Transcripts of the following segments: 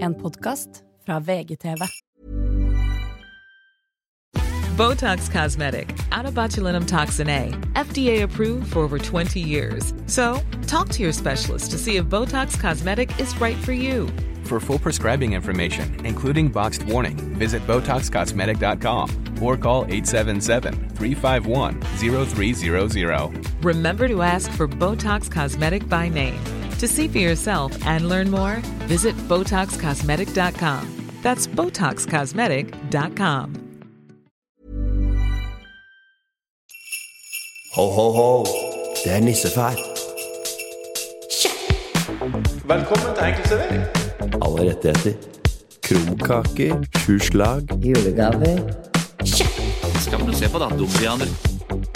En podkast fra VGTV. Botox Cosmetic, out of botulinum toxin A, FDA approved for over 20 years. So, talk to your specialist to see if Botox Cosmetic is right for you. For full prescribing information, including boxed warning, visit BotoxCosmetic.com or call 877-351-0300. Remember to ask for Botox Cosmetic by name. To see for yourself and learn more, visit BotoxCosmetic.com. That's BotoxCosmetic.com. Ho, ho, ho. Det er nissefær. Velkommen til Enkel servering. Alle rettigheter. Krumkaker, sjuslag Julegaver.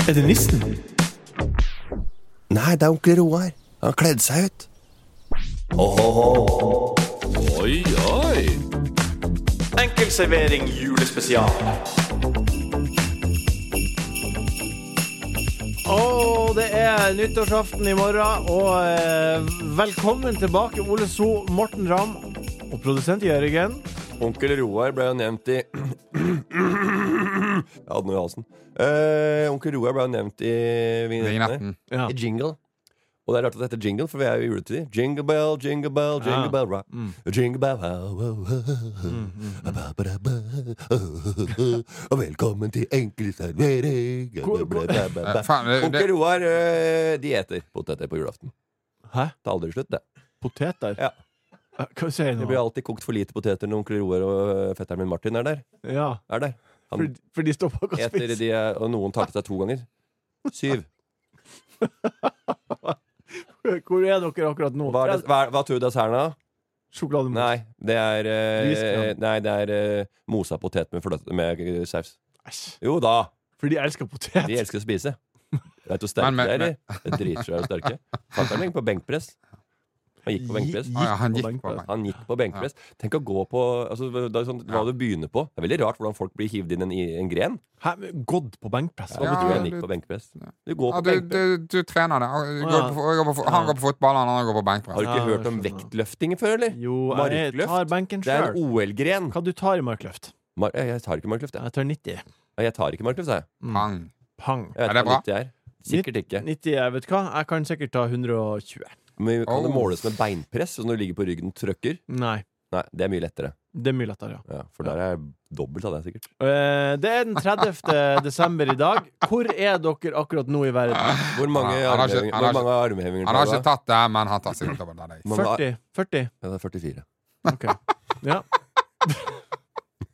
Er det nissen? Nei, det er onkel Roar. Han har kledd seg ut. Ho, ho, ho. Enkel servering julespesial. Og det er nyttårsaften i morgen, og eh, velkommen tilbake, Ole So, Morten Ramm og produsent Jørgen. Onkel Roar ble jo nevnt i Jeg hadde noe i halsen. Eh, onkel Roar ble jo nevnt i vignetten. eh, Vignetten. Ja. I jingle. Og det er rart at det heter jingle, for vi er jo i juletid. Jingle bell, jingle bell, jingle Ja. Mm. bell rock. Jingle bell wow, wow, wow. Ba, ba, da, ba. mm. Og velkommen til enkel servering. Ba, ba, ba, ba, ba. Eh, faen, det- Onkel Roar, eh, de eter poteter på julaften. Hæ? Det er aldri slutt, det. Poteter? Ja. Eh, Hva sier jeg Det nå? blir alltid kokt for lite poteter når onkel Roar og eh, fetteren min Martin er der. Ja, Er der. Han- for, for de står bak og Eter spiser. de, er- og noen tar til seg to ganger. Syv. Hvor er dere akkurat nå? Hva, er det, hva, er- hva tror du desserten er? da? Sjokolademousse. Nei, det er, eh, Lyskram. nei, det er eh, mosa potet med, fløte, med eh, saus. Æsj. Jo da! For de elsker potet. De elsker å spise. Vet du hvor sterke Men- men- de er? eller? Det driter seg i hvor sterke. Fatter'n gikk på benkpress. Han gikk på benkpress. Å ja, han på gikk på benkpress. meg. Han gikk på benkpress. Tenk å gå på altså, det er sånn, Hva du begynner på. Det er veldig rart hvordan folk blir hivd inn en, i en gren. Hæ, men gått på benkpress? Hva Ja, betyr det han gikk du- på benkpress? Du går Ja, på du, benkpress. du, du trener det. Han går på, går på, han går på fotball, han andre går på Har benkpress. du ikke Ja, hørt om jeg skjønner. vektløfting før, eller? Jo, jeg Markløft? tar benken Det er sjøl. en OL-gren. Hva du tar i markløft? Mar jeg tar ikke markløft, jeg. Jeg tar 90. Jeg tar ikke markløft, sa jeg. Mm. Pang. Pang. jeg vet Er ikke det hva bra? nytt er. Sikkert ikke. 90, jeg vet hva. Jeg kan sikkert ta 120. Men kan det Oh. måles med beinpress? Så når du ligger på ryggen og trøkker? Nei. Nei, det er mye lettere. Det er mye lettere, ja. Ja, for der er jeg dobbelt av det, sikkert. Eh, Det er den 30. desember i dag. Hvor er dere akkurat nå i verden? Hvor mange Ja, han har ikke- armhevinger han har hvor mange armhevinger Han har tar ikke du, da? tatt det, men han tar sikkert over deg. Mange ar- 40. 40. Ja, det er 44. Ok. Ja.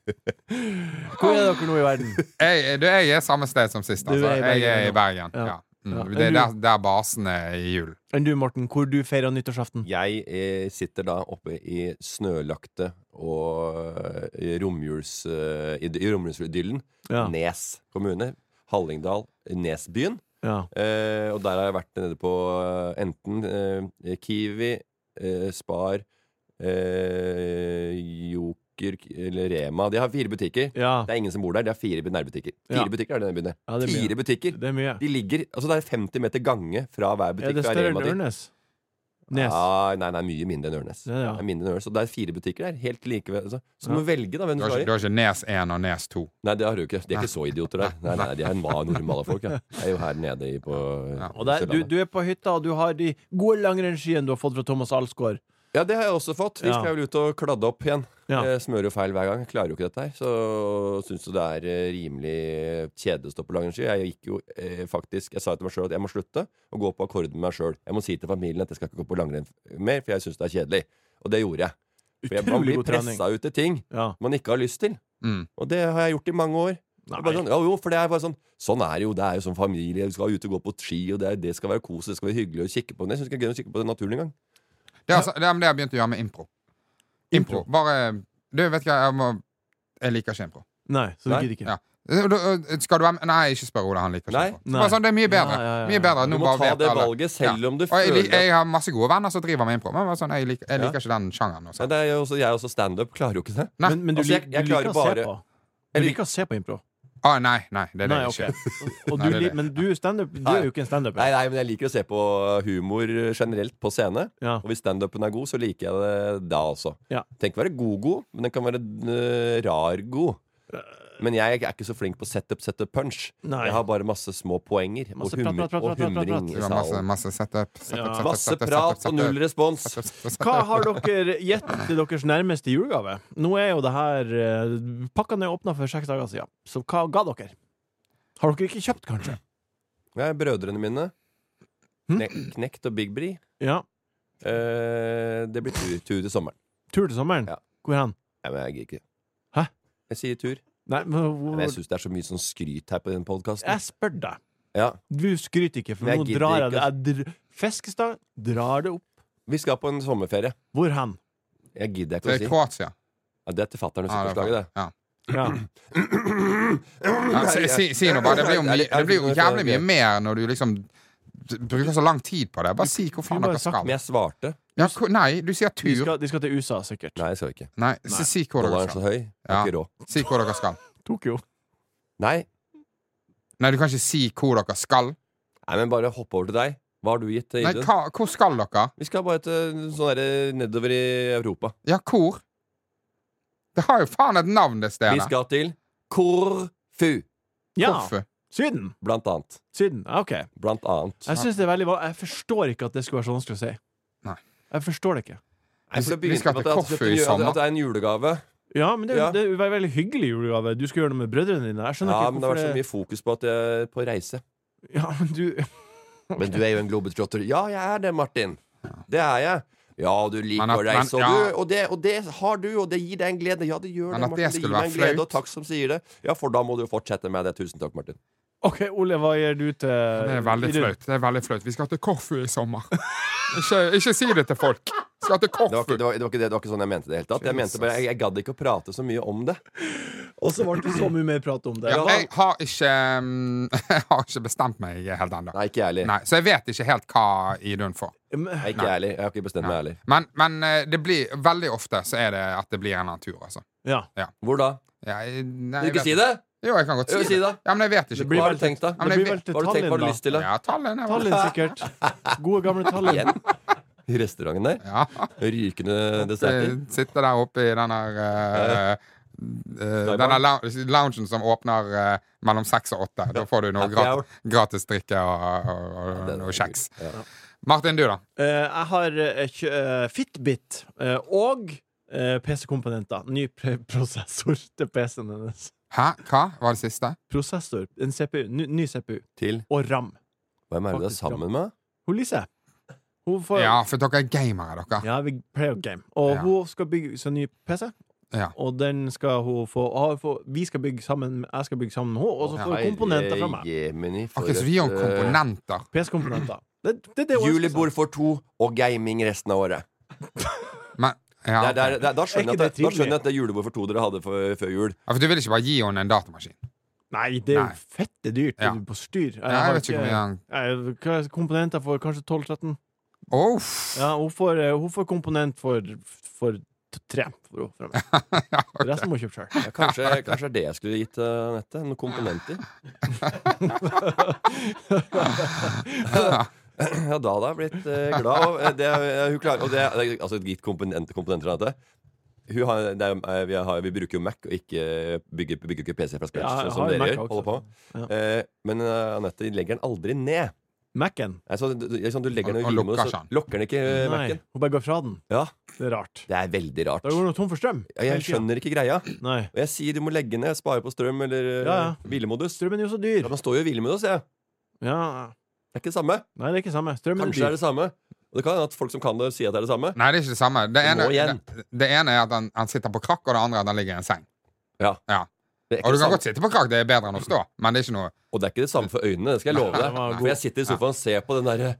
Hvor er dere nå i verden? Jeg, du, jeg er samme sted som sist, Du altså. er i Jeg er i Bergen Bergen. nå. Ja. Ja. Mm. Det er der, der basen er i jul. Enn du, Morten, hvor du feirer nyttårsaften? Jeg eh, sitter da oppe i snølagte og eh, romjuls... eh, I i romjulsidyllen. Ja. Nes kommune. Hallingdal. Nesbyen. ja. Eh, og der har jeg vært nede på eh, enten eh, Kiwi, eh, Spar, eh, Joker k- eller Rema. De har fire butikker. Ja, Det er ingen som bor der. De har fire nærbutikker. Fire Ja. butikker er det i den byen der. Ja, det er mye. Fire butikker! det er mye. De ligger, altså Det er 50 meter gange fra hver Er butikk. det fra større enn Rema til- Ørnes? Nes? Ah, nei, nei, mye mindre enn Ørnes. Ja, ja. Det er mindre enn Ørnes. Så det er fire butikker der. Helt like ved, altså. Så Ja. må du velge, da, hvem Du du har skal ikke, i. du har ikke Nes 1 og Nes 2. Nei, det har du ikke. De er ikke så idioter der. Nei, nei, De er va- normale folk. Ja. Jeg er jo her nede i- på Ja. Og der, du, Sørlandet. du er på hytta, og du har de gode langrennsskiene du har fått fra Thomas Alsgaard. Ja, det har jeg også fått. Vi Ja. skal vel ut og kladde opp igjen. Ja. Jeg smører jo feil hver gang. Jeg klarer jo ikke dette her. Så syns jo det er eh, rimelig kjedelig å stå på langrennsski. Jeg gikk jo eh, faktisk Jeg sa til meg sjøl at jeg må slutte å gå på akkord med meg sjøl. Jeg må si til familien at jeg skal ikke gå på langrenn mer, for jeg syns det er kjedelig. Og det gjorde jeg. For jeg, man Utrolig blir god trening. pressa ut til ting Ja. man ikke har lyst til. Mm. Og det har jeg gjort i mange år. Det er Bare Nei. sånn, ja, jo, for det er bare sånn Sånn er det jo. Det er jo som familie. Du skal ut og gå på ski, og det, er, det skal være kos, det skal være hyggelig å kikke på. Men jeg syns ikke det er gøy å kikke på naturen engang. Det er, altså, det er det jeg begynte å gjøre med impro. Impro. Bare Du, vet ikke, jeg må Jeg liker ikke impro. Nei, så du Nei. gidder ikke. Ja. Du- Skal du være med? Nei, ikke spør Ole. Han liker ikke Nei. impro. Så Bare Nei. sånn, det er mye bedre. Ja, ja, ja, ja. Mye bedre. Du Nå må bare ta vet det alle. valget selv om du Og jeg, føler lik- jeg har masse gode venner som driver med impro. Men bare sånn, jeg liker, jeg Ja. liker ikke den sjangeren. og Nei, sånn. det er jo også, jeg er også standup. Klarer jo ikke det. Nei, Men, men du, altså, jeg- lik- jeg du klarer liker å bare- se på. Jeg Du lik- liker å se på impro. Ah, nei, nei, det er det Nei, jeg ok. ikke. Og Nei, du, det er li- det. men du, standup, du er jo ikke en Nei, standuper. nei, men jeg liker å se på humor generelt på scene. Ja. Og hvis standupen er god, så liker jeg det da også. Ja. Tenk å være god-god, men den kan være øh, rar-god. Men jeg er ikke så flink på setup, setup, punch. Nei. Jeg har bare masse små poenger Masse og, hummer, prat, prat, prat, og prat, prat, humring prat. Det i var masse, salen. masse setup. setup, Ja. setup, Masse setup, prat setup, og null respons. setup, setup, setup. Hva har dere gjett til deres nærmeste julegave? Nå er jo det her eh, Pakkene er åpna for seks dager siden, så hva ga dere? Har dere ikke kjøpt, kanskje? Nei, brødrene mine. Hm? Knek, knekt og Big Bri. Ja. Eh, det blir tur, tur til sommeren. Tur til sommeren? Ja. Hvor hen? Nei, men jeg gidder ikke. Hæ? Jeg sier tur. Nei, men Men hvor jeg syns det er så mye sånn skryt her på den podkasten. Jeg spør deg. Ja. Du skryter ikke, for Men nå jeg drar jeg det. gidder Jeg dr Fiskestad drar det opp. Vi skal på en sommerferie. Hvor hen? Jeg gidder Det ikke å er si. Kroatia. Ja, det er til fatter'n og Ja, det er sykkelslaget, Ja. Ja. Ja, si, si, si nå bare. Det blir, jo, mye- det blir jo jævlig mye mer når du liksom d- bruker så lang tid på det. Bare si hvor faen kunne bare dere det. sagt skal. Men jeg svarte. Ja, hvor- nei, du sier De tur. skal, de skal til USA, sikkert. Nei, jeg skal ikke. Nei, si, si hvor dere Dollaren er så skal. høy. Jeg har Ja. ikke råd. Si hvor dere skal. Tokyo. Nei. Nei, du kan ikke si hvor dere skal. Nei, men bare hopp over til deg. Hva har du gitt til Nei, Idun? hva, hvor skal dere? Vi skal bare til sånn derre nedover i Europa. Ja, hvor? Det har jo faen et navn, det stedet. Vi skal til Korfu, Ja. Hvorfor? Syden. blant annet. Syden. Ja, OK. Blant annet. Jeg synes det er veldig va- Jeg forstår ikke at det skulle være så vanskelig å si. Nei. Jeg forstår det ikke. Jeg skal Vi begynne skal med til at- at- Korfu i at- sommer. At det er en julegave. Ja, men det, er jo- Ja. det er jo veldig, veldig hyggelig julegave. Du skal gjøre noe med brødrene dine. Jeg skjønner Ja, ikke men det har hvorfor vært så mye fokus på at jeg er på reise. Ja, men du Men du er jo en globetrotter. Ja, jeg er det, Martin. Det er jeg. Ja, du liker Men at- å reise, men- og, ja. du, og, det, og det har du, og det gir deg en glede. Ja, det gjør det, Men at det Martin. Det skulle gir meg en være glede, flaut. og takk som sier det. Ja, for da må du jo fortsette med det. Tusen takk, Martin. OK, Ole, hva gjør du til Det er veldig flaut. Det er veldig flaut. Vi skal til Korfu i sommer. Ikke, ikke si det til folk. Vi skal til Det var, ikke, Korfu. det, var, det, var ikke det, det var ikke sånn jeg mente det i det hele tatt. Jeg mente bare, jeg, jeg gadd ikke å prate så mye om det. Og så ble det så mye mer prat om det. Ja, jeg, har ikke, mm, jeg har ikke bestemt meg helt ennå. Nei, ikke jeg heller. Nei, så jeg vet ikke helt hva Idun får. Nei, Ikke jeg heller. Jeg har ikke bestemt meg heller. Men, men eh, det blir, veldig ofte så er det at det blir en annen tur, altså. Ja. Hvor da? Ja, jeg- nei, Vil du jeg ikke si vet- det? Jo, jeg kan godt Jo, si si det. det. Ja, men jeg vet Det ikke. blir Hva har vel du tenkt, da? Det blir vel til Hva har du tenkt, hva har du Tallinn, lyst til, hvor- da? Ja, Tallinn er da. vel Tallinn, sikkert. Gode, gamle Tallinn. Igjen? I restauranten der? Ja. Rykende desserter? Eh, Sitte der oppe i den her eh, eh, Skybar? denne lou- loungen som åpner eh, mellom seks og åtte. Da får du noe Happy hour. gratis, gratis drikke og, og, og, det er og kjeks. Ja. Martin, du, da? Eh, jeg har eh, kjø- eh, Fitbit eh, og eh, PC-komponenter. Ny pre prosessor til PC-en hennes. Hæ? Hva var det siste? Prosessor. En CPU. Ny, ny CPU. Til Og RAM. Hvem er det du er Faktisk, ja. sammen med? Hun Lise. Hun får Ja, for dere er gamere, dere. Ja, vi pleier å game. Og Ja. hun skal bygge seg ny PC. Ja. Og den skal hun få, og få Vi skal bygge sammen Jeg skal bygge sammen med henne, og så får hun komponenter fra meg. eh, Jemini, for Ok, så vi er et, jo eh, komponenter. PC-komponenter. Det, det, er det hun ønsker seg. Julebord for to og gaming resten av året. Men, ja, Det er, ok. det er, det er, da, skjønner Er ikke jeg at, det- det da trivelig? skjønner jeg at det julebord for to dere hadde for, før jul. ja, for du vil ikke bare gi henne en datamaskin? Nei, det er Nei. jo fette dyrt Ja. det er på styr. Ja, jeg vet ikke hvor mye han jeg, hva- Komponenter for kanskje 12-13. Uff! Ja, hun får, eh, hun får komponent for, for t- tre. For hun, fra meg. Resten må hun kjøpe sjøl. Ja, kanskje, kanskje det er det jeg skulle gitt eh, Anette. Noen komponenter. Ja, da hadde jeg blitt eh, glad. Og, eh, det, eh, hun klarer, og det, det- altså, gitt komponent, komponenter Anette. Hun har, det er, eh, vi, har, vi bruker jo Mac og ikke eh, bygger, bygger ikke PC fra scratch, Ja, jeg sånn som har dere Mac gjør. Holder på. også. Ja. Eh, men eh, Anette legger den aldri ned. Mac-en. Nei, så du, du, sånn, du legger den Og- i og lommen, lukker så seg. Lokker den ikke eh, Nei, Mac-en. hun bare går fra den. Ja, Det er rart. det er veldig rart. Da går hun tom for strøm. Ja, jeg hele tiden. skjønner ikke greia. Nei. Og jeg sier du må legge ned, spare på strøm eller eh, Ja, ja. hvilemodus. Strømmen er jo så Ja, dyr. Man står jo i hvilemodus, jeg. Ja. Det er ikke det samme. Nei, det er ikke samme. Strømmen Kanskje det er er dyr. det samme. Og det kan hende at folk som kan det, sier at det er det samme. Nei, det er ikke det samme. Det Du ene, må igjen. det, det ene er at han, han sitter på krakk, og det andre er at han ligger i en seng. Ja. ja. Det er ikke det Og du kan samme. godt sitte på krakk, det er bedre enn å stå. Men det er ikke noe Og det er ikke det samme for øynene, det skal jeg love den deg. var god. For jeg sitter i sofaen og ser på den der eh,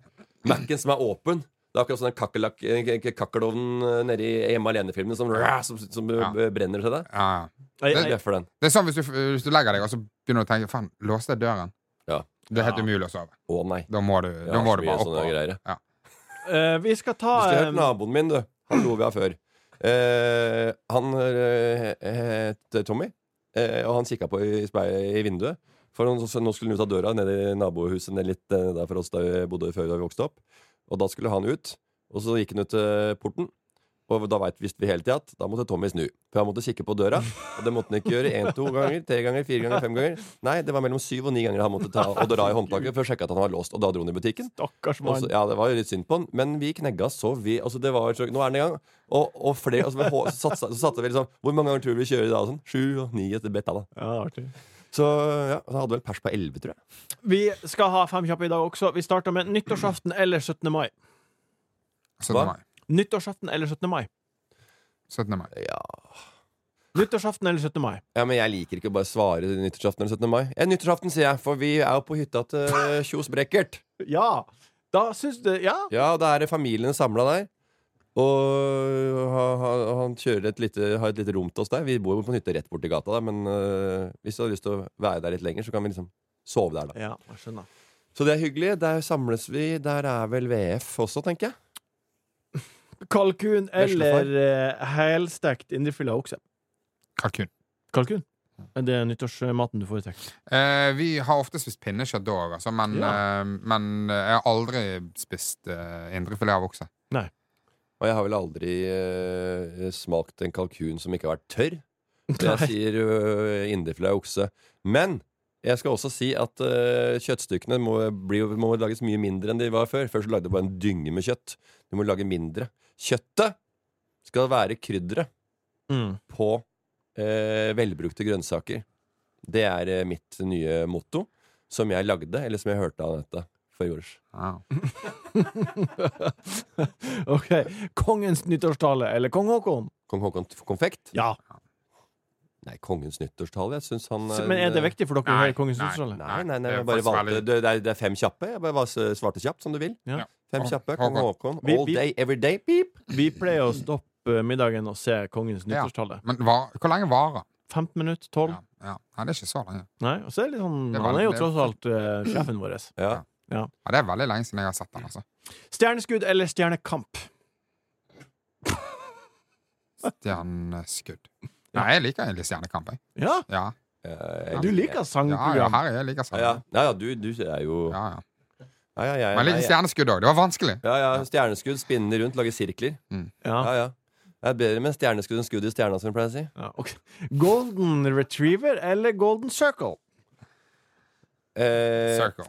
Mac-en som er åpen. Det er akkurat sånn den kakerlakk- eh, k- kakkelovnen eh, nede i Hjemme alene-filmen som, som, som eh, brenner til deg. ja. Jeg, Det jeg, er for den. Det er sånn hvis du, hvis du legger deg og så begynner du å tenke Faen, låste jeg døren? Ja. Det er helt Ja. umulig å sove. Å nei. Da må du, Jeg da har må så du mye bare sånne opp. greier. eh, vi skal ta Hvis du har eh, hørt naboen min, du. Han lo vi av før. Eh, han eh, het Tommy. Eh, og han kikka på i, spei- i vinduet. For han, så, nå skulle han ut av døra, ned i nabohuset ned litt eh, der for oss der vi bodde før da vi vokste opp. Og da skulle han ut. Og så gikk han ut til porten. Og da vet, visste vi hele tida at da måtte Tommy snu. For han måtte kikke på døra. Og det måtte han ikke gjøre én, to ganger, tre ganger, fire ganger, fem ganger. Nei, det var mellom syv og ni ganger han måtte ta og dra i håndtaket for å sjekke at han var låst. Og da dro han i butikken. Stakkars Og så- mann. ja, det var jo litt synd på han, men vi knegga så vi altså, det var, så, Nå er den i gang. Og, og flere, altså, vi hå- så satsa, så satsa vi liksom Hvor mange ganger tror du vi kjører i dag? og Sånn, Sju og ni etter betta, da. Ja, det er artig. Så ja, så hadde vel pers på elleve, tror jeg. Vi skal ha fem kjappe i dag også. Vi starter med nyttårsaften eller 17. mai. 17. Hva? mai. Nyttårsaften eller 17. mai. 17. mai. Ja, Nyttårsaften eller 17. mai. ja men jeg liker ikke å bare svare nyttårsaften eller 17. mai. Ja, nyttårsaften, sier jeg, for vi er jo på hytta til eh, Kjos Brekkert. Ja! Da syns du Ja! Ja, da er det familien samla der. Og ha- ha- han kjører et lite, har et lite rom til oss der. Vi bor jo på en hytte rett borti gata, da, men eh, hvis du har lyst til å være der litt lenger, så kan vi liksom sove der, da. Ja, jeg skjønner. Så det er hyggelig. Der samles vi. Der er vel VF også, tenker jeg. Kalkun Veslefar. eller eh, helstekt indrefilet okse. Kalkun. Kalkun. Det er nyttårsmaten du foretrekker. Eh, vi har ofte spist pinnekjøtt da òg, altså, men, Ja. eh, men eh, jeg har aldri spist eh, indrefilet av okse. Og jeg har vel aldri eh, smakt en kalkun som ikke har vært tørr. Så jeg sier uh, indrefilet og okse. Men jeg skal også si at eh, kjøttstykkene må, bli, må lages mye mindre enn de var før. Før så lagde jeg bare en dynge med kjøtt. Du må lage mindre. Kjøttet skal være krydderet Mm. på eh, velbrukte grønnsaker. Det er eh, mitt nye motto, som jeg lagde, eller som jeg hørte av Anette forgårs. Ja. OK. Kongens nyttårstale eller kong Haakon? Kong Haakon t- konfekt? Ja. Nei, kongens nyttårstale. Jeg syns han eh, Men er det viktig for dere å Nei, høre kongens nei, nyttårstale? Nei, nei, nei, Det er jeg bare faktisk valgte veldig- det, det, er, det er fem kjappe. Jeg bare var- svarte kjapt, som du vil. Ja. Fem Hå- kjappe. Kong Haakon. Vi- All vi- day, every day. Beep. Vi pleier å stoppe middagen og se kongens Ja. nyttårstale. Men hva, hvor lenge varer? 15 minutter? 12? Ja. Ja. Nei, det er ikke så lenge. Nei, og så er det litt sånn Det var- Han er jo det- tross alt eh, sjefen vår. Ja. Ja, det er veldig lenge siden jeg har sett den. altså Stjerneskudd eller stjernekamp? Stjerneskudd. Nei, eh, jeg liker egentlig Stjernekamp. Jeg. Ja, Ja. Eh, du liker Ja, ja, sangprogram. her er jeg liker Ja, Eh, ja. Stjernekamp. ja, ja, du, du er jo Ja, ja. Ja, ja, Men jeg ja, liker ja. Stjerneskudd òg. Det var vanskelig. ja, ja. Stjerneskudd, spinne rundt, lage sirkler. Ja. Ja, ja. Det er bedre med stjerneskudd enn skudd i stjerna, som jeg pleier å si. Ja, ok. Golden Retriever eller Golden Circle? Eh, Circle.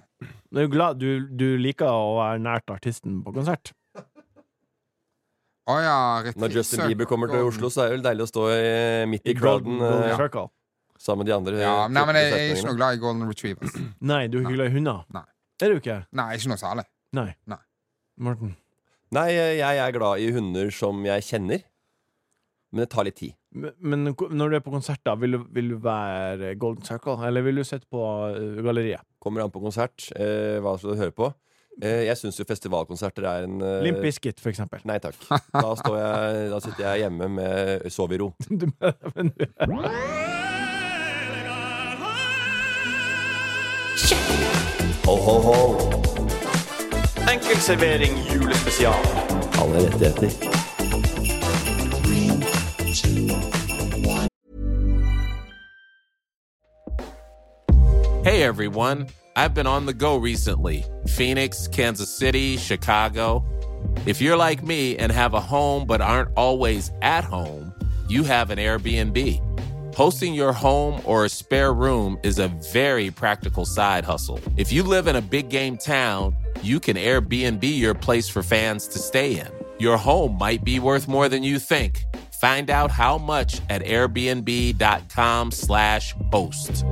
Du, er jo glad, du, du liker å være nært artisten på konsert. Å ja, riktig. når Justin Circle. Bieber kommer til Oslo, så er det vel deilig å stå i, midt i crowden Golden, Golden eh, Circle. sammen med de andre. ja, eh, Nei, men jeg, jeg er 14-16-åringene. ikke noe glad i Golden Retrievers. Nei, du er ikke glad i hunder? Nei. Er du ikke? Nei, ikke noe særlig. Nei. Nei. Morten. Nei, jeg er glad i hunder som jeg kjenner. Men det tar litt tid. Men- Men ko- når du er på konsert, da, vil du, vil du være Golden Circle, eller vil du sitte på eh, galleriet? Kommer an på konsert. Eh, hva skal du høre på? Eh, jeg syns jo festivalkonserter er en eh, Limp Bizkit, for eksempel. Nei takk. Da, står jeg, da sitter jeg hjemme med sov i ro. Du mener- men du- Ho, ho, ho. Enkel servering julespesial. Alle rettigheter. Hey everyone, I've been on the go recently Phoenix, Kansas City, Chicago. If you're like me and have a home but aren't always at home, you have an Airbnb. Hosting your home or a spare room is a very practical side hustle. If you live in a big game town, you can Airbnb your place for fans to stay in. Your home might be worth more than you think. Find out how much at airbnb.com/slash host.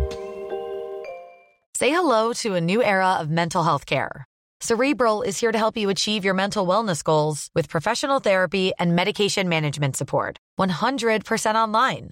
Say hello to a new era of mental health care. Cerebral is here to help you achieve your mental wellness goals with professional therapy and medication management support. 100% online.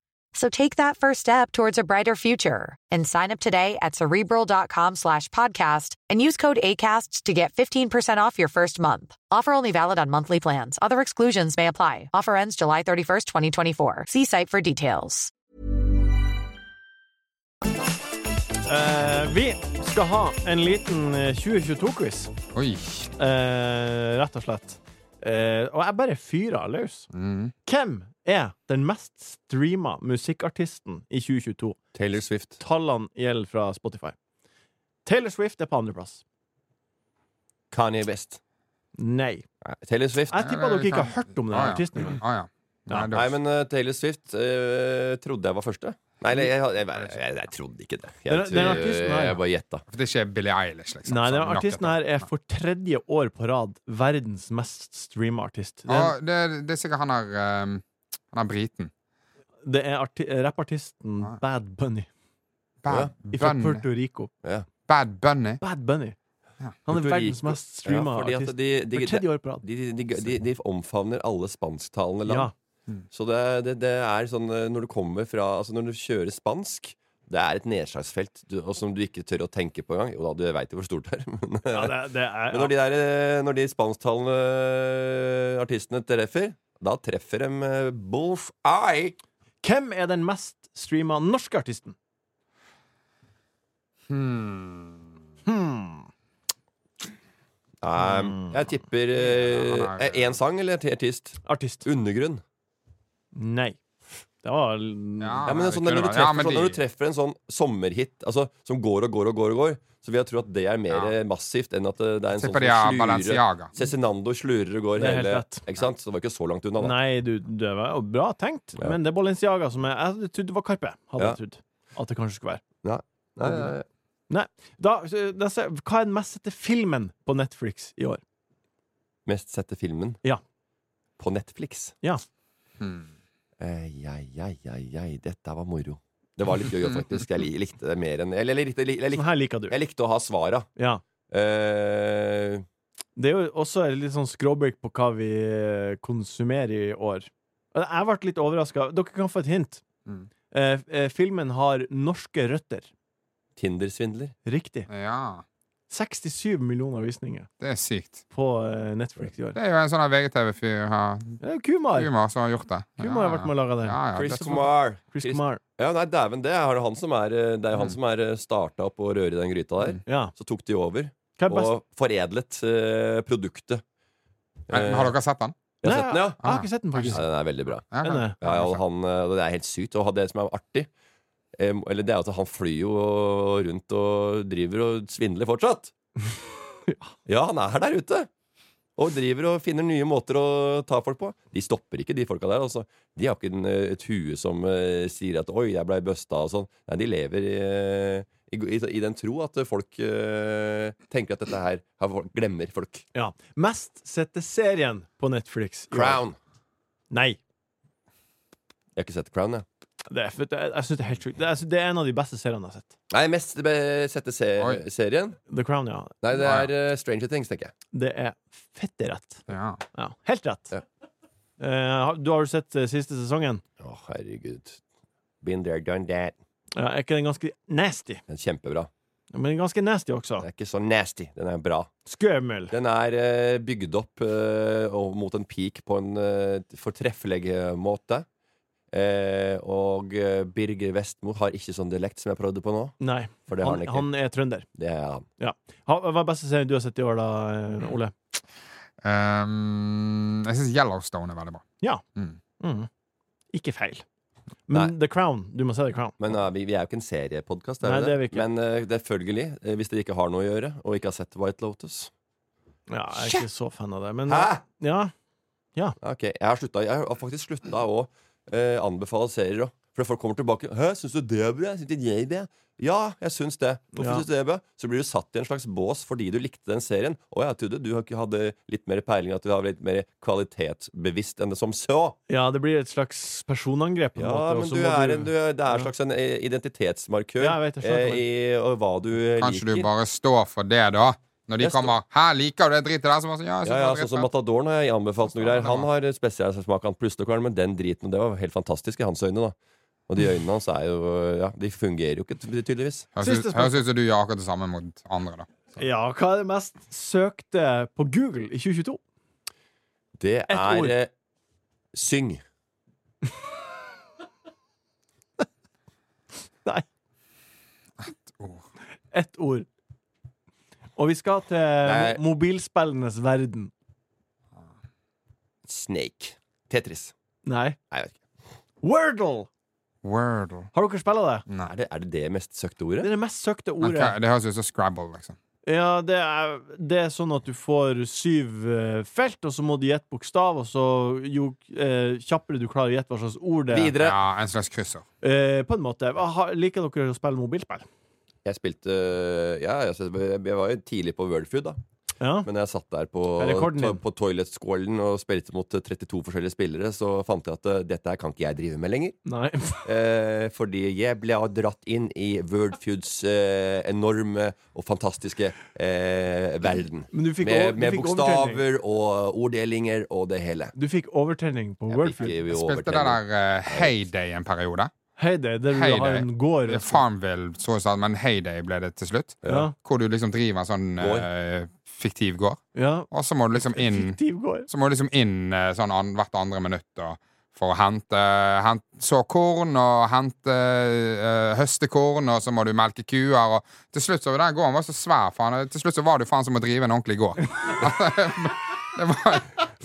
So take that first step towards a brighter future and sign up today at cerebral.com slash podcast and use code ACAST to get 15% off your first month. Offer only valid on monthly plans. Other exclusions may apply. Offer ends July 31st, 2024. See site for details. Eh, vi skal ha en liten 2022-quiz, Oi. eh, rett og slett. Eh, og jeg bare fyrer løs. Mm. Hvem er den mest streama musikkartisten i 2022? Taylor Swift. Tallene gjelder fra Spotify. Taylor Swift er på andreplass. Kanye West. Nei. Nei, Taylor Swift. Jeg tipper dere ikke har hørt om den Ah, ja. artisten engang. Ah, ja. Nei, det- Nei, men eh, Taylor Swift eh, trodde jeg var første. Nei, eller, jeg, jeg, jeg, jeg, jeg trodde ikke det. Jeg, Den- den tror- artisten her, ja. jeg bare gjetta. For det er ikke Billie Eilish, liksom. Nei, som den har lagt artisten dette. her er for tredje år på rad verdens mest streama artist. Det Ah, er, det, er- det er sikkert han her um, Han her briten. det er arti rappartisten Ah. Bad Bunny Bad fra Bunny. Puerto Rico. Bad Bunny. Bad Bunny. Ja. Han er Puerto verdens Rico. mest streama Ja, fordi at artist. de- de- for tredje år på rad. De, de, de, de, de omfavner alle spansktalende land. Ja. Så det, det, det er sånn eh, når du kommer fra Altså når du kjører spansk det er et nedslagsfelt du, og som du ikke tør å tenke på engang. Jo da, du veit jo hvor stort det er. Men, Ja, det, det er, men når, de der, eh, når de spansktalende eh, artistene treffer, da treffer de eh, bull's eye. Hvem er den mest streama norske artisten? Hmm. Nei, Eh, jeg tipper Mm. Ja, én nei. sang eller et artist? Artist. Undergrunn. Nei. Det var Ja, men det er sånn, det når, du kunne vært- treffer, ja, men sånn, de- når du treffer en sånn sommerhit altså, som går og går og går, og går så vil jeg tro at det er mer Ja. eh, massivt enn at det det er en Se sånn på de her Balenciaga. Cezinando slurer og går Det er helt hele rett. Ikke sant? Så det var ikke så langt unna, da. Nei, du, det var jo bra tenkt, Ja. men det er Balenciaga som er Jeg trodde det var Karpe. Hadde Ja. jeg trodd at det kanskje skulle være. Nei, nei, nei. Da, så, da, ser- hva er den mest sette filmen på Netflix i år? Mest sette filmen Ja. på Netflix. Ja. Eh, Ei, ei, ei, ei, dette var moro. Det var litt gøy, faktisk. Jeg li- likte det mer enn Eller jeg likte, jeg Den likte, Sånn her liker du. jeg likte å ha svara. Ja. Eh, Det er jo også et litt sånn skråblikk på hva vi eh, konsumerer i år. Og Jeg ble litt overraska. Dere kan få et hint. Mm. Eh, f- eh, filmen har norske røtter. Tinder-svindler. Riktig. Ja. 67 millioner visninger Det er sykt. på eh, Netflix i år. Det er jo en sånn her VGTV-fyr her Det er jo Kumar. Kumar som har gjort det. Kumar har vært med og laga den. Ja, ja, Chris det- Kumar. Chris Kumar. Ja, nei, dæven, det er han som er, eh, det er jo han Mm. som er eh, starta opp og rører i den gryta der. Ja. Så tok de over Hva er best? og foredlet eh, produktet. Men eh, Har dere sett den? Jeg har Nei, sett den, ja. Jeg har ikke sett den, ja. faktisk. Den er veldig bra. Ja, Den er- Ja, ja, og han, eh, det er helt sykt. Og det som er artig, eh, eller det er at han flyr jo rundt og driver og svindler fortsatt. Ja, han er der ute! Og driver og finner nye måter å ta folk på. De stopper ikke, de folka der. Altså. De har ikke en, eh, et hue som eh, sier at 'oi, jeg blei busta' og sånn. Nei, de lever i, eh, i, i, i den tro at folk eh, tenker at dette her har folk, glemmer folk. Ja. Mest sette serien på Netflix. i år. Crown. Nei. Jeg har ikke sett Crown, jeg. Det er, for- det er- jeg synes det er helt sjukt. Det, er- altså, det er en av de beste seriene jeg har sett. Nei, mest be- sette se Oi. serien. The Crown, ja. Nei, det Ah, er eh, Stranger Things, tenker jeg. Det er fette rett. Ja. Ja. Helt rett. Ja. Eh, har- du har jo sett eh, siste sesongen. Å, herregud. Been there, done that. Ja, er ikke den ganske nasty? Den er kjempebra. Men ganske nasty også. Den er ikke så nasty. Den er bra. Skummel. Den er eh, bygd opp eh, og mot en peak på en eh, fortreffelig eh, måte. Eh, og eh, Birger Vestmo har ikke sånn dialekt som jeg prøvde på nå. Nei, For det har han, han ikke. han er trønder. Det er han. Ha, hva er beste serien du har sett i år, da, eh, Ole? Um, jeg syns Yellowstone er veldig bra. Mhm. Ikke feil. Men The Crown. Du må se The Crown. Men eh, vi, vi er jo ikke en seriepodkast. Nei, det er vi ikke. Men eh, det er følgelig, eh, hvis dere ikke har noe å gjøre, og ikke har sett White Lotus Ja, jeg er ikke så fan av det, men Hæ? Ja. Ok, Jeg har, slutta, jeg har faktisk slutta å eh, anbefale serier òg. For folk kommer tilbake Hæ, 'Syns du det er bra? Syns ikke jeg det?' Ja, jeg syns det. Hvorfor Ja. syns du det er bra? Så blir du satt i en slags bås fordi du likte den serien. Å ja, Tudde, du har ikke- hadde litt mer peiling, at du har litt mer kvalitetsbevisst enn det som så. Ja, det blir et slags personangrep. på en Ja, måte, og men så du må er en, du, er- det er en Ja. slags en eh, identitetsmarkør Ja, jeg vet, jeg skjønner eh, i og hva du Kanskje du liker. bare står for det, da? Når de Jeg står- kommer 'Hæ, liker du det dritet der?' Så bare sånn, ja, jeg Ja, synes ja, det er sånn som dritfett. Matadoren har jeg anbefalt noe greier. Han Ja. har spesialsmak, han plussdokeren, men den driten, og det var helt fantastisk i hans øyne, da. Og de øynene hans er jo Ja, de fungerer jo ikke, tydeligvis. Høres Siste ut- høres ut som du gjør akkurat det samme mot andre, da. Ja, hva er det mest søkte på Google i 2022? Det ord. er eh, Syng. Nei, Åh. ett ord. Og vi skal til Nei. mobilspillenes verden. Snake. Tetris. Nei. Nei, jeg vet ikke. Wordle! Wordle. Har dere spilla det? Er det, er det det mest søkte ordet? Det er det mest søkte Men ordet. hva- Det høres ut som Scrabble, liksom. Ja, det er, det er sånn at du får syv eh, felt, og så må du gjette bokstav, og så jo eh, kjappere du klarer å gjette hva slags ord det er. Videre. Ja, en slags kryssord. Eh, på en måte. Har- Liker dere å spille mobilspill? Jeg spilte eh, Ja, jeg, jeg var jo tidlig på Worldfood, da. Ja. Men når jeg satt der på, Er rekorden to, din? på toiletskålen og spilte mot eh, 32 forskjellige spillere, så fant jeg at eh, dette her kan ikke jeg drive med lenger. Nei. Eh, fordi jeg ble dratt inn i Worldfoods eh, enorme og fantastiske eh, verden. Men du fikk over- med du med fikk bokstaver og orddelinger og det hele. Du fikk overtenning på Jeg fikk Wordfeud. jo Jeg spilte det overtenning. der eh, Heyday en periode. Heyday, der du har Heyday. en gård. Farmville, så å si, men Heyday ble det til slutt. Ja. Hvor du liksom driver en sånn eh, fiktiv gård. ja. Og så må du liksom inn Fiktiv gård. Så må du liksom inn eh, sånn an, hvert andre minutt og, for å hente, hente såkorn og hente eh, høstekorn, og så må du melke kuer. Og til slutt så var den gården var så svær, faen. og Til slutt så var du faen som å drive en ordentlig gård. det Det var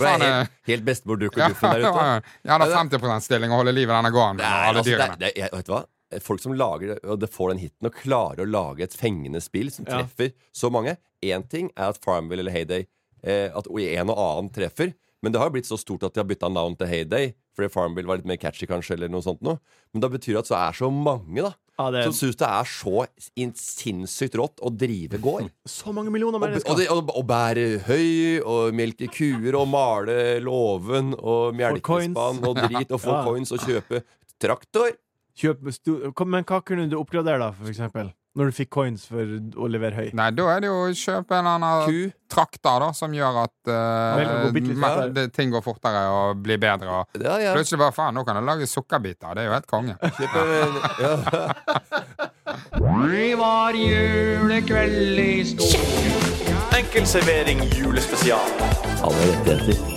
var faen, eh, helt, helt bestemor ja, Dukker-guffen der det ute. var, ja, det er 50 stilling å holde liv i denne gården. Det med er, alle altså, det er, dyrene. det er, jeg- vet du hva? Folk som lager det, og det får den hiten og klarer å lage et fengende spill som Ja. treffer så mange. Én ting er at Farmville eller Heyday eh, At en og annen treffer. Men det har jo blitt så stort at de har bytta navn til Heyday. Fordi Farmville var litt mer catchy, kanskje. eller noe sånt noe. Men da betyr det at så er så mange da Ja, det er- som syns det er så in- sinnssykt rått å drive gård. Så mange millioner Og, mennesker. og, det- og, og bære høy, og melke kuer, og male låven, og coins. melkespann, og drit, og få Ja. coins, og kjøpe traktor. Kjøp med sto- Kom, Men hva kunne du oppgradere, da, for eksempel? Når du fikk coins for å levere høy? Nei, da er det jo å kjøpe en eller annen Ku. trakter da, som gjør at eh, Vel, det går bitte litt ma- fortere. det- ting går fortere og blir bedre. Og Ja, ja. plutselig bare faen, nå kan jeg lage sukkerbiter. Det er jo helt konge. Kjøpe- ja. Enkel servering julespesial. Alle rettigheter.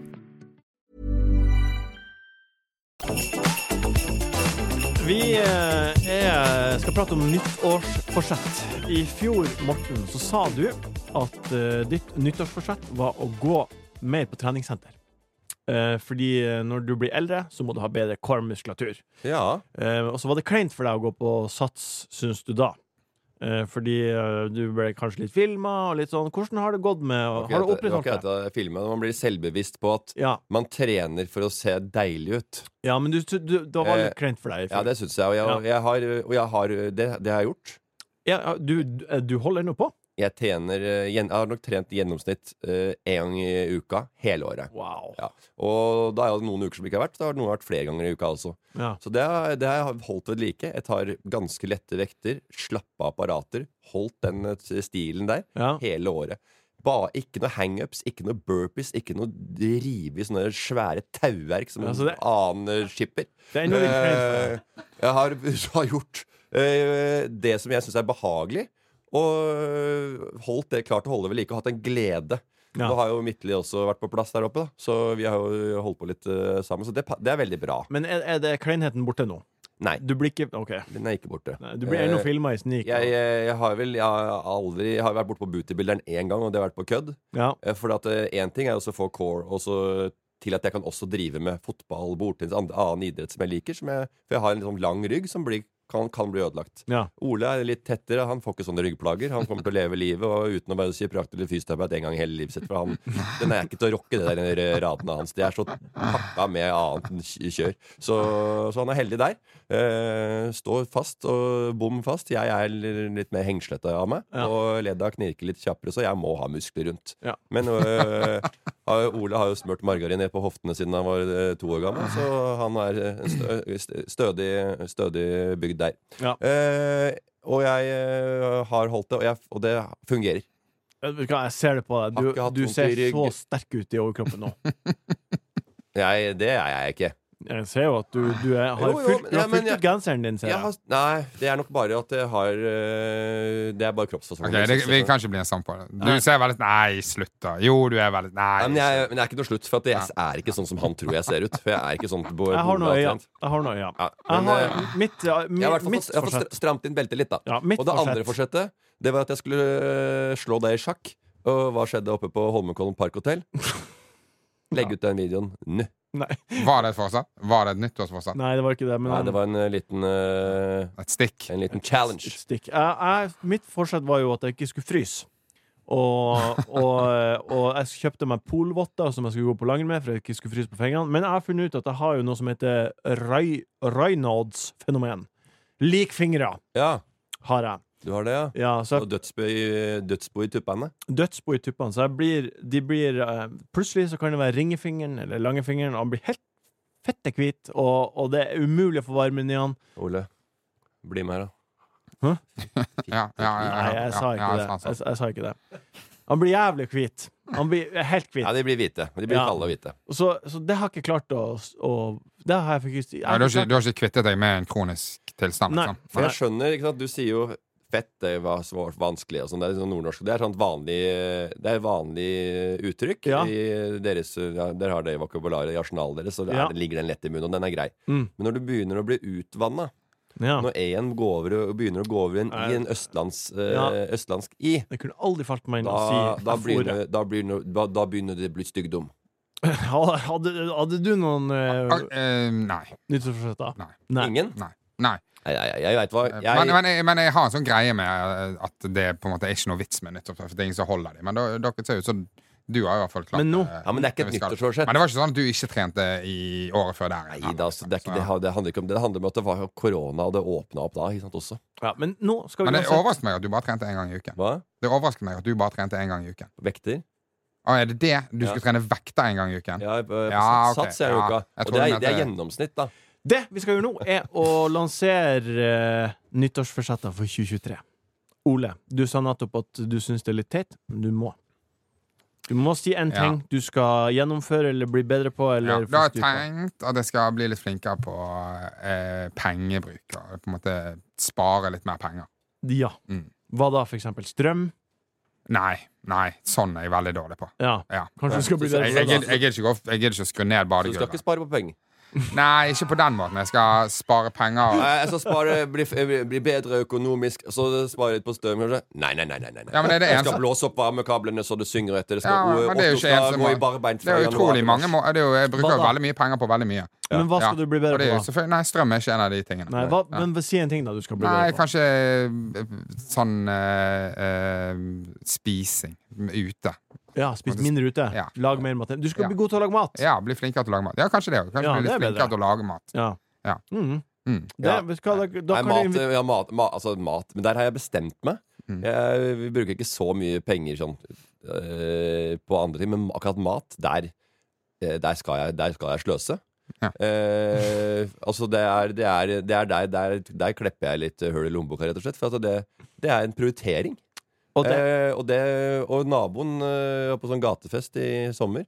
Vi eh, er, skal prate om nyttårsforsett. I fjor, Morten, så sa du at eh, ditt nyttårsforsett var å gå mer på treningssenter. Eh, fordi eh, når du blir eldre, så må du ha bedre core-muskulatur. Ja. Eh, og så var det kleint for deg å gå på sats, syns du da. Eh, fordi eh, du ble kanskje litt filma og litt sånn. Hvordan har det gått med og Har du Det var ikke opprettholdt det? dette jeg filmet, men Man blir selvbevisst på at Ja, man trener for å se deilig ut. ja, men du, du, det var litt kleint for deg. i Eh, Ja, fjor. det syns jeg. Og jeg, og jeg har, og jeg har det, det har jeg gjort. Ja, ja, du, eh, du holder nå på? Jeg, trener, eh, gjen- jeg har nok trent i gjennomsnitt én gang i uka hele året. Wow. Ja. Og da er det noen uker som ikke har vært. Da har noen vært flere ganger i uka altså. også. Ja. Så det har, det har jeg holdt ved like. Jeg tar ganske lette vekter, slappe apparater. Holdt den eh, stilen der. Ja. hele året. Ba, ikke noe hangups, ikke noe burpees, ikke noe rive i sånne svære tauverk som Altså, det- en annen eh, skipper. Det er noe litt kleint for deg. Eh, jeg har, har gjort eh, det som jeg syns er behagelig, og holdt det klart å holde ved like og hatt en glede. Ja. Nå har jo Midtly også vært på plass der oppe, da. så vi har jo holdt på litt eh, sammen. Så det, pa- det er veldig bra. Men er, er det kleinheten borte nå? Nei, Du blir ikke OK. den er ikke borte. Nei, Du blir ennå Eh, filma i snik. jeg, eh, jeg, jeg har vel jeg har aldri jeg har vært borte på Bootybilderen én gang, og det har vært på kødd. Ja. For at én ting er også å få core og så til at jeg kan også drive med fotball, bordtennis, and- annen idrett som jeg liker. Som jeg, for jeg har en liksom sånn lang rygg som blir kan, kan bli ødelagt. Ja. Ole er litt tettere, han får ikke sånne ryggplager. Han kommer til å leve livet og uten å være kiropraktor eller fysioterapeut en gang i hele livet sitt. For han, den er ikke til å rocke, det der eh, radene hans. Det er så pakka med annet enn kj- kjør. Så, så han er heldig der. Eh, står fast og bom fast. Jeg er l- litt mer hengslete av meg, Ja. og ledda knirker litt kjappere, så jeg må ha muskler rundt. Ja. Men øh, har- Ole har jo smurt margarin ned på hoftene siden han var øh, to år gammel, så han er øh, stø- stø- stødig, stødig bygd der. Ja. Eh, og jeg øh, har holdt det, og, jeg, og det fungerer. Vet du hva, jeg ser det på Har deg. ikke hatt Du, du vondt i ser så ryggen. sterk ut i overkroppen nå. Jeg, det er jeg ikke. Jeg ser jo at du, du er, har Jo, jo, fylt, men- du har ja, men fylt jeg- ut genseren din, ser Jeg jeg. har, nei, det er nok bare at jeg har øh, Det er bare kroppsfasongen. Ok, det, Vi kan ikke bli en sånn på det. Du ser veldig Nei, slutt, da. Jo, du er veldig sånn. Nei, men, Nei. jeg, men jeg er ikke noe slutt, for at jeg er ikke sånn som han tror jeg ser ut. For jeg er ikke sånn bo- Jeg har noe i bolig- øya. Jeg har noe i øya. Ja, Jeg men, har eh, mitt, Jeg ja, mi- har i hvert fall mitt fått, jeg har fått forsett. stra- stramt inn beltet litt, da. Ja, mitt og det andre forsett. forsettet, det var at jeg skulle øh, slå deg i sjakk. Og hva skjedde oppe på Holmenkollen Parkhotell? Legg ut den videoen nå. Nei. Var det et fortsett? Var det et nyttårsfortsett? Nei, det var ikke det. Men Nei, det var en øh, liten øh, Et stikk? En liten challenge. stikk. Jeg, jeg, mitt forsett var jo at jeg ikke skulle fryse. Og, og, eh, og jeg kjøpte meg polvotter som jeg skulle gå på langrenn med. For jeg ikke skulle fryse på fingrene Men jeg har funnet ut at jeg har jo noe som heter Ray, Reynolds-fenomen. Lik fingre Ja, har jeg. du har det, ja. Ja, så jeg Og dødsbo i, dødsbo i tuppene. dødsbo i tuppene. Så jeg blir, de blir eh, Plutselig så kan det være ringefingeren eller langefingeren, og han blir helt fette hvit, og, og det er umulig å få varmen i han. Ole, bli med her, da. Ja, ja, ja, ja, Nei, jeg sa ja, sånn, ikke det. ja, sant, Jeg, sant. jeg sa ikke det. Han blir jævlig hvit. Han blir helt hvit. Ja, de blir hvite. De blir Ja. kalde og hvite. Og Så, så det har jeg ikke klart å, å Det har jeg faktisk jeg Ja, har du, har ikke ikke, du har ikke kvittet deg med en kronisk tilstand? Nei. Liksom. For jeg skjønner, ikke sant, du sier jo fett, det var svårt, vanskelig og sånn. Det er sånn nordnorsk. Det er sånn vanlig, det er vanlig uttrykk. Ja. I deres, ja, dere har det i vokabularet i arsenalet deres, så det er, Ja. det ligger den lett i munnen, og den er grei. Mm. Men når du begynner å bli utvanna, klart- ja. når en går over, og begynner å gå over i en, i en østlands, eh, Ja. østlandsk i, Det kunne aldri falt meg inn å si da, da, jeg begynner, da, begynner, da, da begynner det å bli styggdom. fôrer. hadde, hadde du noen uh, Ah, eh, nei. nyttårsforsetter? Nei. Ingen? Nei. nei. Nei, jeg, jeg, jeg veit hva. Jeg, Eh, men, men, jeg, men jeg har en sånn greie med eh, at det på en måte er ikke noe vits med nyttårsforsett. For det er ingen som holder dem. Men da, dere ser ut som du har i hvert fall klart Men nå- eh, ja, men det er ikke vi et skal. nyttårsforsett. Men det var ikke sånn at du ikke trente i året før der? Nei da, altså, det, er ikke, det, har- det handler ikke om det. Det handler om at det var korona, og det åpna opp da. Ikke sant, også. Ja, men nå skal vi Men det uansett- overrasket meg at du bare trente én gang i uken. Hva? Det overrasket meg at du bare trente en gang i uken. Vekter? Å, er det det? Du Ja. skulle trene vekter en gang i uken? Ja, på, på Ja, sats, ok. sats er jo Ja, ikke Og jeg tror det du er, mente det er det. gjennomsnitt, da. Det vi skal gjøre nå, er å lansere eh, nyttårsforsetter for 2023. Ole, du sa nettopp at du syns det er litt teit, men du må. Du må si en Ja. ting du skal gjennomføre eller bli bedre på. Ja, Eller da har jeg få styr på. tenkt at jeg skal bli litt flinkere på eh, pengebruk. Og på en måte spare litt mer penger. Ja. Mm. Hva da, for eksempel? Strøm? Nei, nei, sånn er jeg veldig dårlig på. Ja. Ja. Kanskje du skal bli Jeg, jeg, bedre på gidder- jeg, gidder ikke gå- jeg gidder ikke å skru ned sånn Så du skal ikke badegulvet. spare på penger. Nei, ikke på den måten. Jeg skal spare penger. Nei, jeg skal spare, bli, bli bedre økonomisk, så spare litt på strøm, kanskje. Nei, nei, nei. nei, nei. Ja, men er det jeg eneste- skal blåse opp varmekablene så det synger etter. Det skal, Ja, o- men det er jo Otto ikke skal eneste gå i må- barbeint Det er jo fra utrolig januar mange til mars. må det er jo, Jeg bruker Hva jo da? veldig mye penger på veldig mye. Men hva skal Ja. du bli Og det er bedre jo på? da? selvfølgelig- Nei, strøm er ikke en av de tingene. Nei, hva, men si en ting da du skal bli Nei, bedre på. kanskje eh, sånn eh, eh, spising ute. Ja, Spis mindre ute. Ja. Lag mer mat. Du skal Ja. bli god til å lage mat! Ja, bli flinkere til å lage mat. Ja, kanskje det òg. Kanskje Ja, bli litt det er bedre. flinkere til å lage mat. Ja. Ja. Mhm. Mm. Det, Ja. vet du hva, da, da Nei, kan mat, du invit- ja, mat, ma, altså mat. Men der har jeg bestemt meg. Mm. Jeg, vi bruker ikke så mye penger sånn, øh, på andre ting, men akkurat mat, der, eh, der, skal, jeg, der skal jeg sløse. Ja. Eh, altså det er, det er, det er der, der, der klepper jeg litt hull i lommeboka, rett og slett. For altså det, det er en prioritering. og det, Eh, og, det, og naboen eh, var på sånn gatefest i sommer.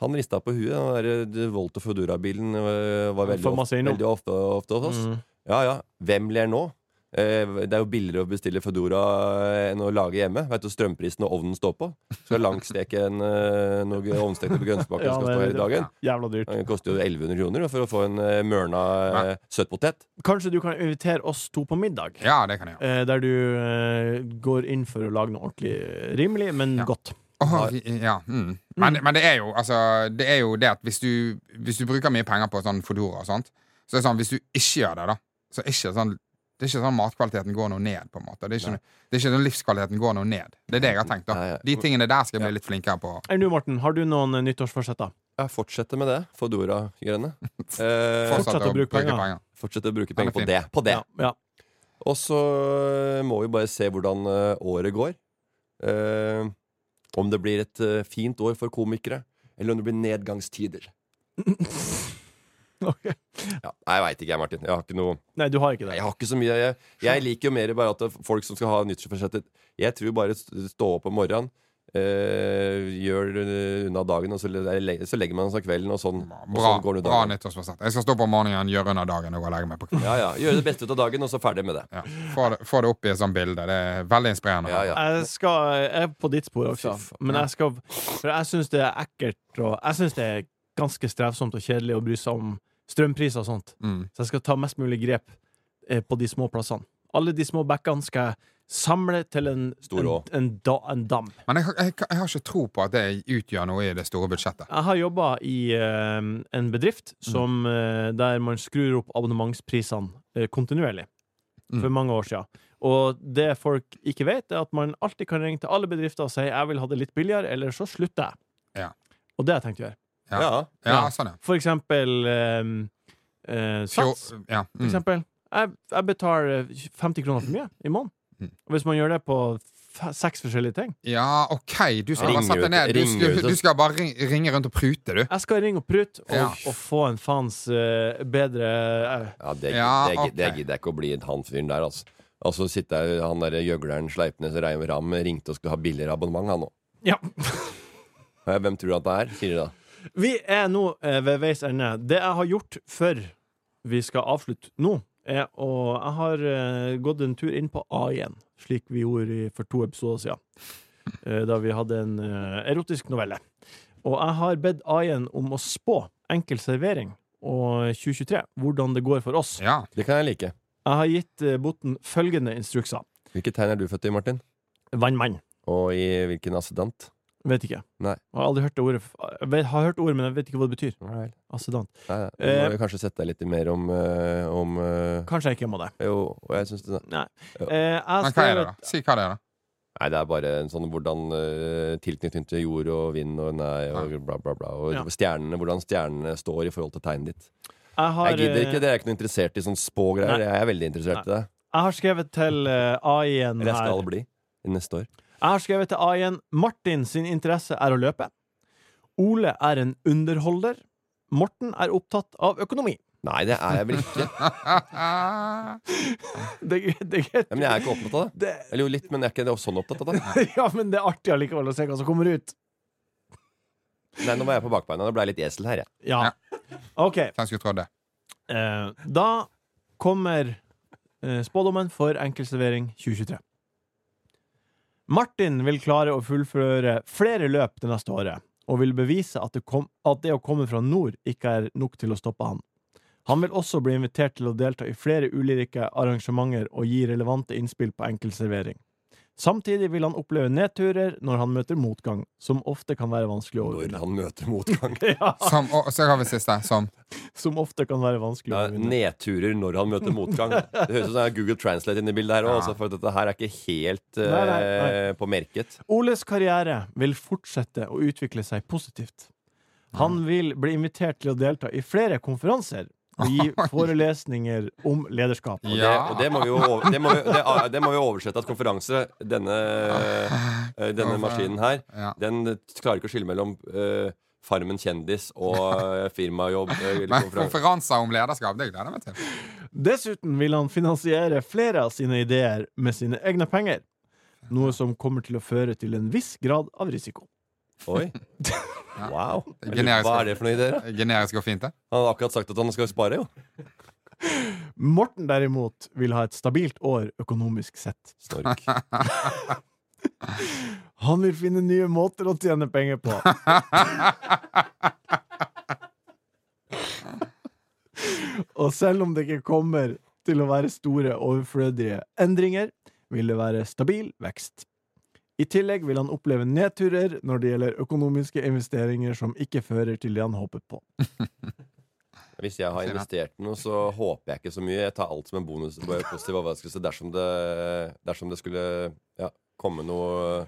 Han rista på huet. Den der eh, Volt og Foodora-bilen eh, var veldig For masse ofte, innom. veldig ofte, ofte hos oss. Mhm. Ja, ja. Hvem ler nå? Eh, Det er jo billigere å bestille Foodora eh, enn å lage hjemme. Vet du strømprisen og ovnen står på? Skal langsteke en eh, noe ovnstekte grønnsbaker Ja, skal det- stå hele dagen. Jævla dyrt. Det koster jo 1100 kroner for å få en eh, mørna eh, søtpotet. Kanskje du kan invitere oss to på middag? Ja, det kan jeg gjøre. Eh, der du eh, går inn for å lage noe ordentlig eh, rimelig, men godt. Åh, vi- ja, mm. men, men det er jo altså, Det er jo det at hvis du, hvis du bruker mye penger på sånn Fodora og sånt, så er det sånn hvis du ikke gjør det, da, så er det ikke sånn Det er ikke sånn matkvaliteten går noe ned. på en måte. Det er ikke, det er ikke sånn livskvaliteten går noe ned. Det er det jeg har tenkt. Nei, nei. da. De tingene der skal jeg bli litt flinkere på. Enn du, Morten, har du noen eh, nyttårsforsetter? Jeg fortsetter med det. Foodora-greiene. Eh, Fortsatt å bruke penger. fortsetter å bruke Den er penger på fin. det. På det. Ja, ja. Og så eh, må vi bare se hvordan eh, året går. Eh, om det blir et eh, fint år for komikere, eller om det blir nedgangstider. Ok. Ja, nei, jeg veit ikke, jeg, Martin. Jeg har ikke noe Nei, du har ikke Nei, det. Jeg har ikke så mye Jeg, jeg liker jo mer bare at det- folk som skal ha nyttårsforsettet Jeg tror bare st- stå opp om morgenen eh, Gjør eh, unna dagen Og så, le- så legger man seg kvelden Og sånn, og Bra, sånn går det bra dagen nyttårsforsett. Jeg skal stå på om morgenen, gjøre under dagen og gå og legge meg på kvelden. ja, ja. Gjør det beste ut av dagen og så ferdig med det Ja. Få, det, få det opp i et sånt bilde. Det er veldig inspirerende. ja, ja. Jeg, skal, jeg er på ditt spor også, Fy faen. men jeg skal For jeg syns det er ekkelt og Jeg syns det er ganske strevsomt og kjedelig å bry seg om strømpriser og sånt. Mm. Så jeg skal ta mest mulig grep eh, på de små plassene. Alle de små bekkene skal jeg samle til en, Stor en, å. en, da, en dam. Men jeg, har- jeg, jeg har ikke tro på at det utgjør noe i det store budsjettet. Jeg har jobba i eh, en bedrift Mm. som, eh, der man skrur opp abonnementsprisene eh, kontinuerlig. For Mm. mange år siden. Og det folk ikke vet, er at man alltid kan ringe til alle bedrifter og si 'jeg vil ha det litt billigere', eller så slutter jeg. Ja. Og det har jeg tenkt å gjøre. Ja. Ja. Ja, Ja. sånn, ja. For eksempel eh, eh, Sats. Fjor- ja. For Mm. eksempel. Jeg, jeg betaler 50 kroner for mye i måneden. Mm. Og hvis man gjør det på f seks forskjellige ting ja, OK, du skal bare Ring sette ut- deg ned. Du, ring skal- ut. du skal bare ring, ringe rundt og prute, du. Jeg skal ringe og prute og, Ja. og få en faens eh, bedre eh, Ja, det, Ja, det, ok. det gidder jeg ikke å bli han fyren der, altså. Altså sitter jeg, han der gjøgleren Sleipnes Reim Ram ringte og skulle ha billigere abonnement, han nå. Ja. Ja, Hvem tror du at det er, sier de da. Vi er nå eh, ved veis ende. Det jeg har gjort før vi skal avslutte nå, er å Jeg har eh, gått en tur inn på A1, slik vi gjorde i, for to episoder siden. eh, da vi hadde en eh, erotisk novelle. Og jeg har bedt A1 om å spå enkel servering og 2023, hvordan det går for oss. Ja. Det kan jeg like. Jeg har gitt eh, Botten følgende instrukser. Hvilket tegn er du født i, Martin? Vannmann. Og i hvilken ascendant? Vet ikke. Nei. Jeg har aldri hørt det ordet. f- Jeg vet- har hørt ordet, men jeg vet ikke hva det betyr. Right. Assedant. Nei, nei, nå Eh. må vi kanskje sette deg litt mer om, eh, om eh, Kanskje jeg ikke må det. Jo, og jeg synes det Nei. Ja. Eh, jeg Men hva skrev er det, et- da? Si hva det er, da. Nei, det er bare en sånn hvordan eh, tilknytning til jord og vind og nei og bla, bla, bla. Og Ja. stjernene, hvordan stjernene står i forhold til tegnet ditt. Jeg har, Jeg gidder ikke, eh, dere er ikke noe interessert i sånn spågreier. Nei. Jeg er veldig interessert i det. Jeg har skrevet til eh, A1 Eller jeg her. skal bli neste år. Jeg har skrevet til A1 Martin sin interesse er å løpe. Ole er en underholder. Morten er opptatt av økonomi. Nei, det er jeg vel ikke. Det, det, det, Nei, men jeg er ikke opptatt av det. Eller jo litt, men jeg er ikke sånn opptatt av det. ja, men det er artig allikevel å se hva som kommer ut. Nei, nå var jeg på bakbeina. Nå ble jeg litt esel her, jeg. Ja. OK. Hvem skulle trodd det? Eh, da kommer eh, spådommen for enkeltservering 2023. Martin vil klare å fullføre flere løp det neste året, og vil bevise at det, kom, at det å komme fra nord ikke er nok til å stoppe han. Han vil også bli invitert til å delta i flere ulike arrangementer og gi relevante innspill på enkeltservering. Samtidig vil han oppleve nedturer når han møter motgang, som ofte kan være vanskelig å Når overvinne. han møter motgang. Ja, Som, og, så har vi siste. Som som ofte kan være vanskelig å Ja, overvinne. nedturer når han møter motgang. Det høres ut som det er Google Translate inne i bildet her òg, altså, for dette her er ikke helt eh, Nei, nei, på merket. Oles karriere vil fortsette å utvikle seg positivt. Han vil bli invitert til å delta i flere konferanser og gi forelesninger om lederskap. Og, det, Ja. og det, må vi jo, over- det, må, vi- det, er- det må vi oversette at konferanse, denne, eh, denne maskinen her, Ja. den klarer ikke å skille mellom eh, Farmen kjendis og eh, firmajobb. eh, eller Men konferanse. konferanser om lederskap, det gleder jeg meg til. Dessuten vil han finansiere flere av sine ideer med sine egne penger, noe som kommer til å føre til en viss grad av risiko. Oi. Wow. Det er generisk. Hva er det for noe ideer? da? Generisk og fint, det. Han har akkurat sagt at han skal spare, jo. Morten derimot vil ha et stabilt år økonomisk sett. Snork. Han vil finne nye måter å tjene penger på. Og selv om det ikke kommer til å være store overflødige endringer, vil det være stabil vekst. I tillegg vil han oppleve nedturer når det gjelder økonomiske investeringer som ikke fører til det han håpet på. Hvis jeg har Sier han. investert noe, så håper jeg ikke så mye. Jeg tar alt som en bonus bare positiv overraskelse dersom det, dersom det skulle ja, komme noe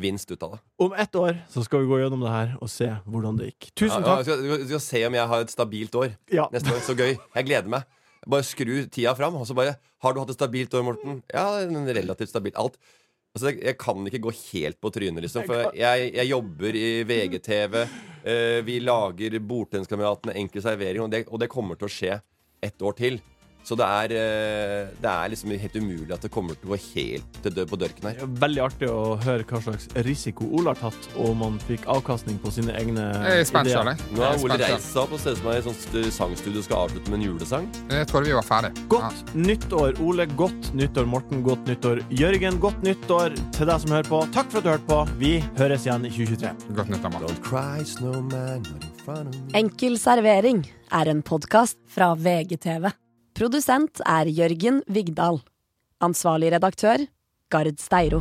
vinst ut av det. Om ett år så skal vi gå gjennom det her og se hvordan det gikk. Tusen Ja, ja, takk. skal, vi skal se om jeg har et stabilt år Ja. neste år. Så gøy. Jeg gleder meg. Bare skru tida fram, og så bare Har du hatt et stabilt år, Morten? Ja, en relativt stabilt. Alt. Altså, jeg, jeg kan ikke gå helt på trynet, liksom. For jeg, jeg jobber i VGTV. eh, vi lager Bordtenniskameratene, enkel servering, og det, og det kommer til å skje ett år til. Så det er, eh, det er liksom helt umulig at det kommer til å gå helt til død på dørken her. Veldig artig å høre hva slags risiko Ola har tatt, og om han fikk avkastning på sine egne Jeg er spent selv, ideer. jeg. Nå Jeg har er Ole spent selv. reist seg opp og ser ut som han i et sånt st- sangstudio skal avslutte med en julesang. Jeg trodde vi var ferdig. Godt nyttår, Ole. Godt nyttår, Morten. Godt nyttår, Jørgen. Godt nyttår til deg som hører på. Takk for at du hørte på. Vi høres igjen i 2023. Ja, godt nytt av meg. Don't cry, snowman, not in front of me. Enkel servering er en podkast fra VGTV. Produsent er Jørgen Vigdal. Ansvarlig redaktør Gard Steiro.